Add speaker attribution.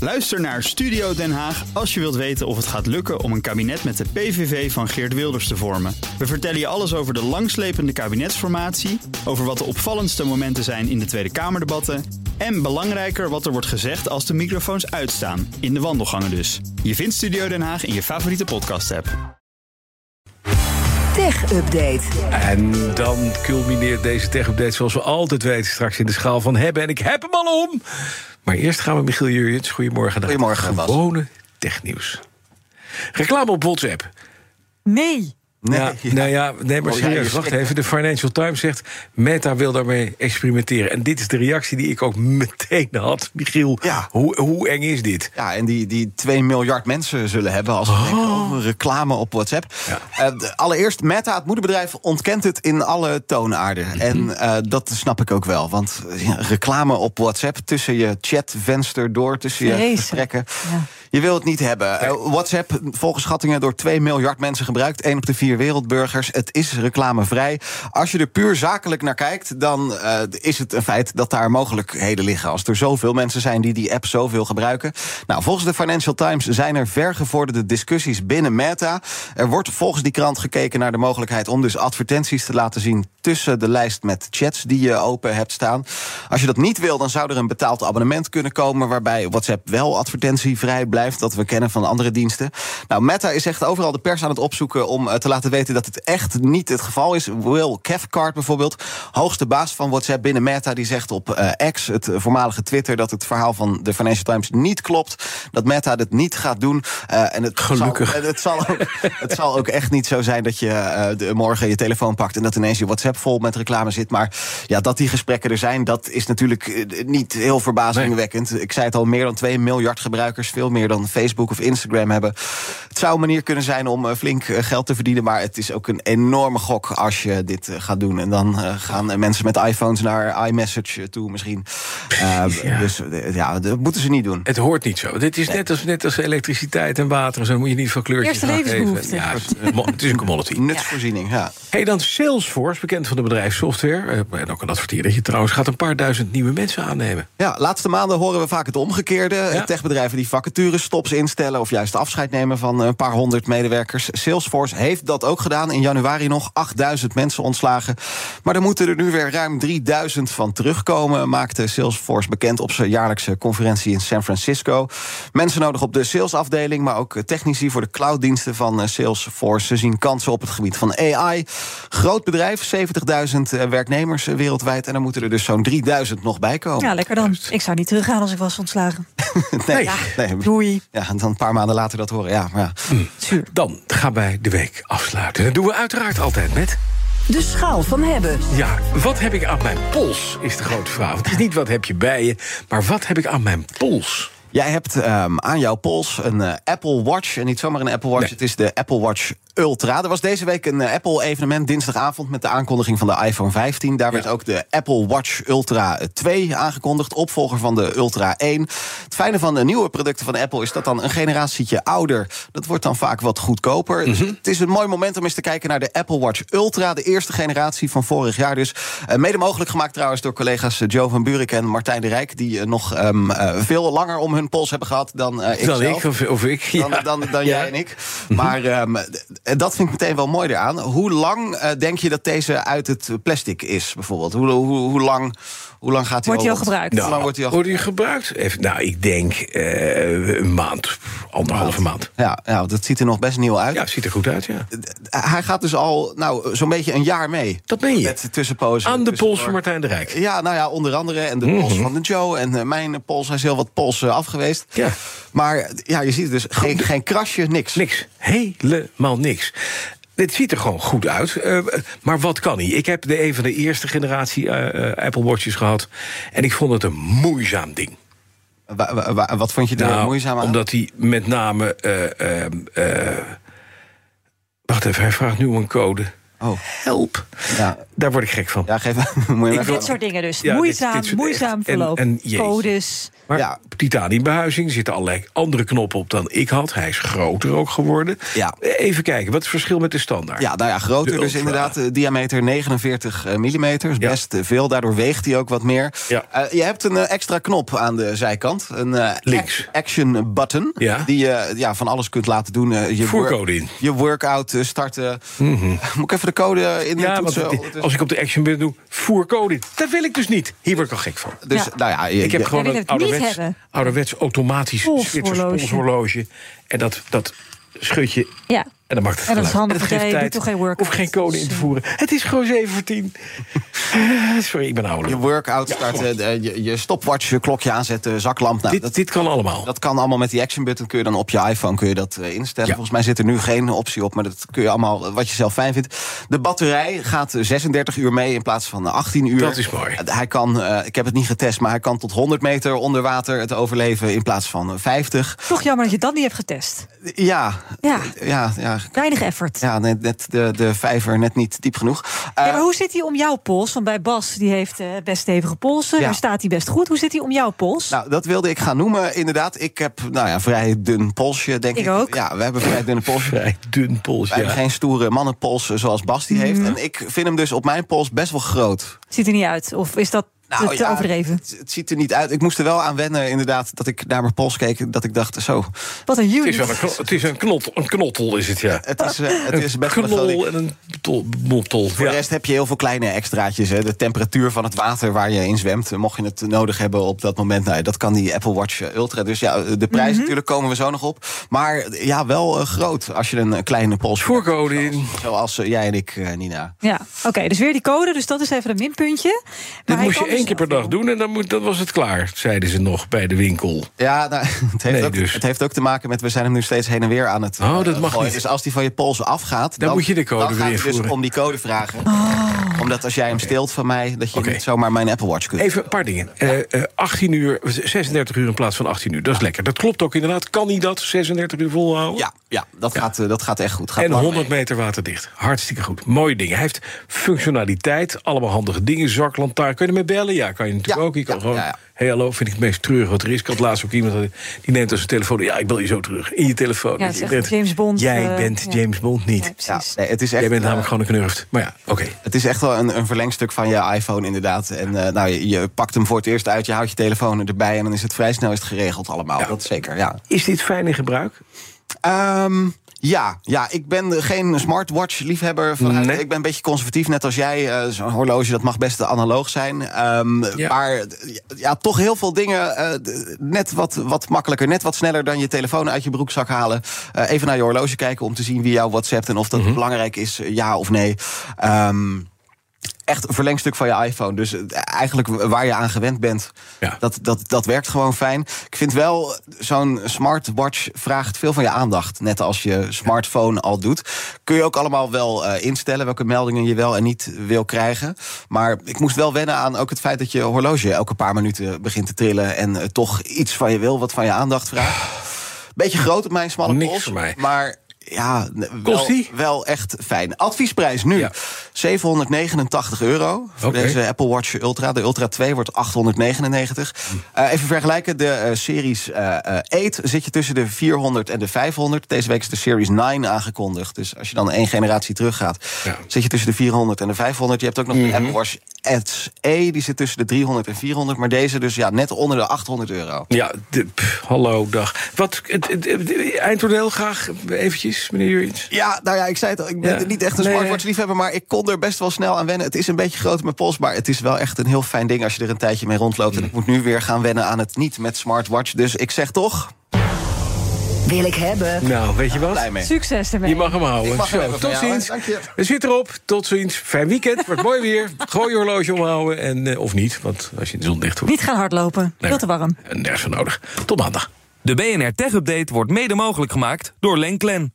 Speaker 1: Luister naar Studio Den Haag als je wilt weten of het gaat lukken om een kabinet met de PVV van Geert Wilders te vormen. We vertellen je alles over de langslepende kabinetsformatie, over wat de opvallendste momenten zijn in de Tweede Kamerdebatten en belangrijker wat er wordt gezegd als de microfoons uitstaan, in de wandelgangen dus. Je vindt Studio Den Haag in je favoriete podcast-app.
Speaker 2: Tech Update.
Speaker 3: En dan culmineert deze tech-update zoals we altijd weten straks in de schaal van hebben. En ik heb hem al om. Maar eerst gaan we Michiel Jurjens. Goedemorgen. naar
Speaker 4: Goedemorgen, Bas.
Speaker 3: Gewone technieuws. Reclame op WhatsApp.
Speaker 5: Nee.
Speaker 3: Nee, ja, Nou ja, nee, maar
Speaker 4: Oh, ja,
Speaker 3: serieus,
Speaker 4: je
Speaker 3: wacht
Speaker 4: schrikt.
Speaker 3: even. De Financial Times zegt, Meta wil daarmee experimenteren. En dit is de reactie die ik ook meteen had. Michiel,
Speaker 4: Ja.
Speaker 3: hoe, hoe eng is dit?
Speaker 4: Ja, en die, die 2 miljard mensen zullen hebben als we denken over reclame op WhatsApp. Eh, de- allereerst, Meta, het moederbedrijf, ontkent het in alle toonaarden. En eh, dat snap ik ook wel. Want eh, ja, reclame op WhatsApp, tussen je chatvenster door, tussen je
Speaker 5: Vreselijk.
Speaker 4: gesprekken. Je wil het niet hebben. Eh, WhatsApp, volgens schattingen door 2 miljard mensen gebruikt. 1 op de vier wereldburgers. Het is reclamevrij. Als je er puur zakelijk naar kijkt, dan eh, is het een feit dat daar mogelijkheden liggen. Als er zoveel mensen zijn die die app zoveel gebruiken. Nou, volgens de Financial Times zijn er vergevorderde discussies binnen Meta. Er wordt volgens die krant gekeken naar de mogelijkheid om dus advertenties te laten zien tussen de lijst met chats die je open hebt staan. Als je dat niet wil, dan zou er een betaald abonnement kunnen komen waarbij WhatsApp wel advertentievrij blijft, dat we kennen van andere diensten. Nou, Meta is echt overal de pers aan het opzoeken om eh, te laten weten dat het echt niet het geval is. Will Cathcart bijvoorbeeld, hoogste baas van WhatsApp binnen Meta, die zegt op eh, X, het eh, voormalige Twitter, dat het verhaal van de Financial Times niet klopt, dat Meta dit niet gaat doen. Eh, en het
Speaker 3: Gelukkig.
Speaker 4: Zal, en het, zal ook, het zal ook echt niet zo zijn dat je eh, de- morgen je telefoon pakt en dat ineens je WhatsApp vol met reclame zit. Maar ja, dat die gesprekken er zijn, dat is natuurlijk eh, niet heel verbazingwekkend. Ik zei het al, meer dan 2 miljard gebruikers, veel meer dan Facebook of Instagram hebben. Het zou een manier kunnen zijn om eh, flink eh, geld te verdienen, maar het is ook een enorme gok als je dit eh, gaat doen. En dan eh, gaan eh, mensen met iPhones naar iMessage toe misschien. Eh, Dus eh, ja, dat moeten ze niet doen.
Speaker 3: Het hoort niet zo. Dit is net, als, net als elektriciteit en water. en Zo moet je niet van kleurtjes
Speaker 5: Eerste
Speaker 3: gaan geven.
Speaker 5: levensbehoefte.
Speaker 3: Ja, het, is- het is een commodity.
Speaker 4: Nutsvoorziening, ja.
Speaker 3: Hey, dan Salesforce, bekend van de bedrijfssoftware. eh, En ook een adverteerdertje trouwens. Gaat een paar duizend nieuwe mensen aannemen.
Speaker 4: Ja, laatste maanden horen we vaak het omgekeerde. Eh, Techbedrijven die vacaturestops instellen of juist afscheid nemen van eh, een paar honderd medewerkers. Salesforce heeft dat ook gedaan. In januari nog 8000 mensen ontslagen. Maar er moeten er nu weer ruim 3000 van terugkomen, maakte Salesforce bekend op zijn jaarlijkse conferentie in San Francisco. Mensen nodig op de salesafdeling, maar ook eh, technici voor de clouddiensten van eh, Salesforce. Ze zien kansen op het gebied van AI. Groot bedrijf, 70.000 werknemers eh, wereldwijd. En er moeten er dus zo'n 3000 nog bij komen.
Speaker 5: Ja, lekker dan. Ik zou niet teruggaan als ik was ontslagen.
Speaker 4: Nee, nee.
Speaker 5: Doei.
Speaker 4: Ja, Mm. en dan een paar maanden later dat horen. Ja, maar ja.
Speaker 5: Zuur.
Speaker 3: Dan gaan wij de week afsluiten. Dat doen we uiteraard altijd met...
Speaker 2: De schaal van hebben.
Speaker 3: Ja, wat heb ik aan mijn pols, is de grote vraag. Het is niet wat heb je bij je, maar wat heb ik aan mijn pols?
Speaker 4: Jij hebt ehm, aan jouw pols een eh, Apple Watch. En niet zomaar een Apple Watch,
Speaker 3: Nee.
Speaker 4: het is de Apple Watch Ultra. Er was deze week een Apple-evenement dinsdagavond... met de aankondiging van de iPhone 15. Daar werd ook de Apple Watch Ultra 2 aangekondigd. Opvolger van de Ultra 1. Het fijne van de nieuwe producten van Apple... is dat dan een generatietje ouder... dat wordt dan vaak wat goedkoper. Dus
Speaker 3: Mhm.
Speaker 4: het is een mooi moment om eens te kijken naar de Apple Watch Ultra. De eerste generatie van vorig jaar dus. Eh, mede mogelijk gemaakt trouwens door collega's eh, Joe van Burik en Martijn de Rijk... die eh, nog ehm, eh, veel langer om hun pols hebben gehad dan eh, ik
Speaker 3: Dan
Speaker 4: zelf.
Speaker 3: ik of, of ik?
Speaker 4: Dan,
Speaker 3: ja.
Speaker 4: dan, dan
Speaker 3: Ja. Mhm.
Speaker 4: jij en ik. Maar ehm, d- dat vind ik meteen wel mooi eraan. Hoe lang eh, denk je dat deze uit het plastic is, bijvoorbeeld? Hoe, hoe, hoe, lang, hoe lang gaat hij
Speaker 5: Wordt hij al
Speaker 4: rond?
Speaker 5: gebruikt?
Speaker 4: Hoe lang
Speaker 3: Nou,
Speaker 4: wordt hij al
Speaker 3: wordt die gebruikt? Even, nou, ik denk eh, een maand, anderhalve maand.
Speaker 4: Ja, ja, dat ziet er nog best nieuw uit.
Speaker 3: Ja, ziet er goed uit, ja.
Speaker 4: D- Hij gaat dus al nou, zo'n beetje een jaar mee.
Speaker 3: Dat ben je.
Speaker 4: Met tussenpozen.
Speaker 3: Aan de Mhm. pols van
Speaker 4: tussendoor.
Speaker 3: Martijn de Rijk.
Speaker 4: Ja, nou ja, onder andere. En de pols van de Joe. En eh, mijn pols. Hij is heel wat pols eh, afgeweest.
Speaker 3: Ja.
Speaker 4: Maar eh, ja, je ziet dus geen, geen krasje, niks.
Speaker 3: Niks. Helemaal niks. Dit ziet er gewoon goed uit. Eh, maar wat kan hij? Ik heb de een van de eerste generatie eh, eh, Apple Watches gehad. En ik vond het een moeizaam ding.
Speaker 4: Wa- wa- wa- wat vond je er
Speaker 3: Nou,
Speaker 4: moeizaam aan?
Speaker 3: Omdat hij met name. eh, ehm, eh, wacht even, eh, hij vraagt nu om een code.
Speaker 4: Oké. Oh.
Speaker 3: Help.
Speaker 4: Ja.
Speaker 3: Daar word ik gek van.
Speaker 4: Ja, geef moet je
Speaker 3: Ik
Speaker 4: maar
Speaker 3: wil-
Speaker 5: Dit soort dingen dus.
Speaker 3: Ja, dit-
Speaker 5: moeizaam,
Speaker 3: dit soort
Speaker 5: moeizaam
Speaker 3: echt- en-
Speaker 5: verloop.
Speaker 3: en jeetje.
Speaker 5: codes.
Speaker 3: Maar
Speaker 4: Ja.
Speaker 3: titaniumbehuizing zitten allerlei andere knoppen op dan ik had. Hij is groter ook geworden. Eh,
Speaker 4: Ja.
Speaker 3: Even kijken, wat is het verschil met de standaard?
Speaker 4: Ja, nou ja,
Speaker 3: De
Speaker 4: groter. Dus
Speaker 3: Ultra.
Speaker 4: inderdaad, eh, diameter 49 mm. Is
Speaker 3: Ja.
Speaker 4: best eh, veel. Daardoor weegt hij ook wat meer.
Speaker 3: Ja.
Speaker 4: Eh, je hebt een eh, extra knop aan de zijkant. Een eh,
Speaker 3: Links.
Speaker 4: ac- action button.
Speaker 3: Ja.
Speaker 4: Die je eh, ja, van alles kunt laten doen. Eh, je
Speaker 3: Voercode
Speaker 4: work-
Speaker 3: in. Mhm.
Speaker 4: Je workout eh, starten. Eh, Moet ik even de code in
Speaker 3: Ja, want
Speaker 4: toetsen? Oh,
Speaker 3: het-
Speaker 4: Ondertussen-
Speaker 3: als ik op de action button doe, voer code in. Dat wil ik dus niet. Hier word ik al gek van.
Speaker 4: Dus
Speaker 5: Ja.
Speaker 4: nou ja, je-
Speaker 3: Ik heb
Speaker 4: je-
Speaker 3: gewoon
Speaker 5: Jij wil
Speaker 3: een
Speaker 5: het niet
Speaker 3: ouderwets,
Speaker 5: hebben.
Speaker 3: ouderwets automatisch
Speaker 5: Polshorloge.
Speaker 3: Zwitsers polshorloge. En dat, dat schud je
Speaker 5: Ja.
Speaker 3: en dan maakt het
Speaker 5: En
Speaker 3: geluid.
Speaker 5: dat is handig,
Speaker 3: En
Speaker 5: want jij doet toch geen workout.
Speaker 3: hoef geen code in te
Speaker 5: Dus, eh,
Speaker 3: voeren. Het is gewoon 7 voor 10. Eh, Sorry, ik ben
Speaker 4: je
Speaker 3: ouder.
Speaker 4: workout starten. eh, je, je stopwatch, je klokje aanzetten, zaklamp. Nou,
Speaker 3: dit,
Speaker 4: dat,
Speaker 3: dit kan allemaal.
Speaker 4: dat kan allemaal met die action button. Kun je dan op je iPhone kun je dat eh, instellen.
Speaker 3: Ja.
Speaker 4: Volgens mij zit er nu geen optie op, maar dat kun je allemaal eh, wat je zelf fijn vindt. De batterij gaat eh, 36 uur mee in plaats van eh, 18 uur.
Speaker 3: Dat is mooi.
Speaker 4: Eh, Hij kan, eh, ik heb het niet getest, maar hij kan tot 100 meter onder water het overleven in plaats van eh, 50.
Speaker 5: Toch jammer dat je dat niet hebt getest.
Speaker 4: Ja,
Speaker 5: Ja.
Speaker 4: ja, ja.
Speaker 5: Weinig effort.
Speaker 4: Ja, net, net de, de vijver net niet diep genoeg. Eh,
Speaker 5: Ja, maar hoe zit hij om jouw pols? Want bij Bas, die heeft eh, best stevige polsen.
Speaker 4: Ja.
Speaker 5: Daar staat hij best goed. Hoe zit hij om jouw pols?
Speaker 4: Nou, dat wilde ik gaan noemen. Inderdaad, ik heb nou ja, vrij dun polsje, denk ik.
Speaker 5: Ik ook.
Speaker 4: Ja, we hebben vrij dunne polsje.
Speaker 3: Vrij dun pols,
Speaker 4: Wij
Speaker 3: ja. Mhm.
Speaker 4: hebben geen stoere mannenpols eh, zoals Bas die heeft. En ik vind hem dus op mijn pols best wel groot.
Speaker 5: Ziet er niet uit. Of is dat
Speaker 3: Nou,
Speaker 5: te- te
Speaker 4: Nou ja,
Speaker 5: overdreven?
Speaker 4: Het, het ziet er niet uit. Ik moest er wel aan wennen, inderdaad, dat ik naar mijn pols keek. Dat ik dacht, zo,
Speaker 5: Wat een
Speaker 3: Het is,
Speaker 5: unit.
Speaker 3: wel een, knot, het is een, knot, een knottel, is het, ja.
Speaker 4: het is, eh, het is
Speaker 3: Een
Speaker 4: best wel groot.
Speaker 3: knol en een tol- mottel.
Speaker 4: Voor de
Speaker 3: ja.
Speaker 4: rest heb je heel veel kleine extraatjes. Hè. De temperatuur van het water waar je in zwemt, eh, mocht je het nodig hebben op dat moment. Nou, ja, dat kan die Apple Watch eh, Ultra. Dus ja, eh, de
Speaker 3: Mhm.
Speaker 4: prijs natuurlijk komen we zo nog op. Maar eh, ja, wel eh, groot als je een eh, kleine pols hebt.
Speaker 3: Voorcode in.
Speaker 4: Zoals eh, jij en ik, eh, Nina.
Speaker 5: Ja, oké. dus weer die code. Dus dat is even een minpuntje. Maar
Speaker 3: Dit
Speaker 5: hij
Speaker 3: moest
Speaker 5: kan
Speaker 3: je
Speaker 5: dus
Speaker 3: één keer per
Speaker 5: zelf
Speaker 3: dag doen en dan, moet, dan was het klaar, zeiden ze nog bij de winkel.
Speaker 4: Ja, nou, het, heeft
Speaker 3: Nee,
Speaker 4: ook,
Speaker 3: dus.
Speaker 4: het heeft ook te maken met, we zijn hem nu steeds heen en weer aan het
Speaker 3: Oh, dat
Speaker 4: eh,
Speaker 3: mag
Speaker 4: gooien.
Speaker 3: niet.
Speaker 4: Dus als die van je pols afgaat,
Speaker 3: Dan moet je de code
Speaker 4: dan gaat
Speaker 3: weer
Speaker 4: het dus
Speaker 3: invoeren.
Speaker 4: om die code vragen. Omdat als jij hem steelt van mij, dat je
Speaker 3: Oké.
Speaker 4: niet zomaar mijn Apple Watch kunt.
Speaker 3: Even een paar dingen. Eh, eh, 18 uur, 36 uur in plaats van 18 uur. Dat is lekker. Dat klopt ook inderdaad. Kan hij dat 36 uur volhouden?
Speaker 4: Ja, ja, dat, Gaat, eh, dat gaat echt goed. Gaat
Speaker 3: En
Speaker 4: lang
Speaker 3: 100
Speaker 4: mee.
Speaker 3: meter waterdicht. Hartstikke goed. Mooie dingen. Hij heeft functionaliteit. Allemaal handige dingen. Zaklantaarn. Kun je ermee bellen? Ja, kan je natuurlijk
Speaker 4: Ja,
Speaker 3: ook. Je kan
Speaker 4: ja,
Speaker 3: gewoon.
Speaker 4: ja, ja.
Speaker 3: Hey, hallo. Vind ik het meest treurige wat er is. Ik had laatst ook iemand die neemt als zijn telefoon. Ja, ik bel je zo terug. In je telefoon.
Speaker 5: Ja, het is
Speaker 3: Je
Speaker 5: echt James Bond,
Speaker 3: Jij
Speaker 5: eh,
Speaker 3: bent
Speaker 5: ja.
Speaker 3: James Bond niet.
Speaker 5: Ja,
Speaker 4: Ja,
Speaker 5: precies.
Speaker 4: nee, het is
Speaker 3: Jij
Speaker 4: echt,
Speaker 3: bent
Speaker 4: eh,
Speaker 3: namelijk gewoon een knurft. Maar ja, oké.
Speaker 4: Het is echt wel een, een verlengstuk van je iPhone, inderdaad. En eh, nou, je, je pakt hem voor het eerst uit, je houdt je telefoon erbij... en dan is het vrij snel is het geregeld allemaal. Dat zeker, ja.
Speaker 3: Is dit fijn in gebruik?
Speaker 4: Ehm, ja, ja, ik ben geen smartwatch-liefhebber. vanuit-
Speaker 3: Nee.
Speaker 4: Ik ben een beetje conservatief, net als jij. Eh, Zo'n horloge, dat mag best analoog zijn. Ehm,
Speaker 3: Ja.
Speaker 4: Maar ja, toch heel veel dingen eh, d- net wat, wat makkelijker... net wat sneller dan je telefoon uit je broekzak halen. Eh, even naar je horloge kijken om te zien wie jou whatsappt... en of dat
Speaker 3: Mhm.
Speaker 4: belangrijk is, eh, ja of nee. Ehm, echt een verlengstuk van je iPhone. Dus eh, eigenlijk waar je aan gewend bent,
Speaker 3: Ja.
Speaker 4: dat, dat, dat werkt gewoon fijn. Ik vind wel, zo'n smartwatch vraagt veel van je aandacht. Net als je smartphone al doet. Kun je ook allemaal wel eh, instellen welke meldingen je wel en niet wil krijgen. Maar ik moest wel wennen aan ook het feit dat je horloge elke paar minuten begint te trillen. En eh, toch iets van je wil, wat van je aandacht vraagt. Beetje groot op mijn smalle
Speaker 3: Ah. Niks
Speaker 4: pols,
Speaker 3: voor mij.
Speaker 4: maar... Ja, n- wel,
Speaker 3: Kost-ie?
Speaker 4: wel echt fijn. Adviesprijs nu.
Speaker 3: Ja.
Speaker 4: 789 euro voor
Speaker 3: Oké.
Speaker 4: deze Apple Watch Ultra. De Ultra 2 wordt 899.
Speaker 3: Hm.
Speaker 4: Eh, even vergelijken, de eh, Series eh, eh, 8 zit je tussen de 400 en de 500. Deze week is de Series 9 aangekondigd. Dus als je dan één generatie teruggaat,
Speaker 3: Ja. Mhm.
Speaker 4: zit je tussen de 400 en de 500. Je hebt ook nog de Apple Watch SE, die zit tussen de 300 en 400. Maar deze dus ja, net onder de 800 euro.
Speaker 3: Ja, de- pff, hallo, dag. Wat, het, het- het- eindoordeel graag eventjes, meneer Jurits.
Speaker 4: Ja, nou ja, ik zei het al, ik ben
Speaker 3: Ja.
Speaker 4: niet echt een
Speaker 3: Nee.
Speaker 4: smartwatch liefhebber, maar ik kon er best wel snel aan wennen. Het is een beetje groot met mijn pols, maar het is wel echt een heel fijn ding als je er een tijdje mee rondloopt.
Speaker 3: Mm.
Speaker 4: En ik moet nu weer gaan wennen aan het niet met smartwatch. Dus ik zeg toch,
Speaker 2: Wil ik hebben.
Speaker 3: Nou, weet je wat?
Speaker 4: blij mee.
Speaker 5: Succes ermee.
Speaker 3: Je mag hem houden.
Speaker 4: Ik mag hem
Speaker 3: Zo,
Speaker 4: even van
Speaker 3: tot
Speaker 4: jou, hè.
Speaker 3: ziens.
Speaker 4: Dank je.
Speaker 3: We zitten erop. Tot ziens. Fijn weekend. Wordt mooi weer. Gooi je horloge omhouden. En, eh, of niet, want als je in de zon dicht hoort,
Speaker 5: Niet gaan hardlopen.
Speaker 3: Nee.
Speaker 5: Veel te warm.
Speaker 3: eh, nergens voor nodig. Tot maandag.
Speaker 6: De BNR Tech Update wordt mede mogelijk gemaakt door Lenklen.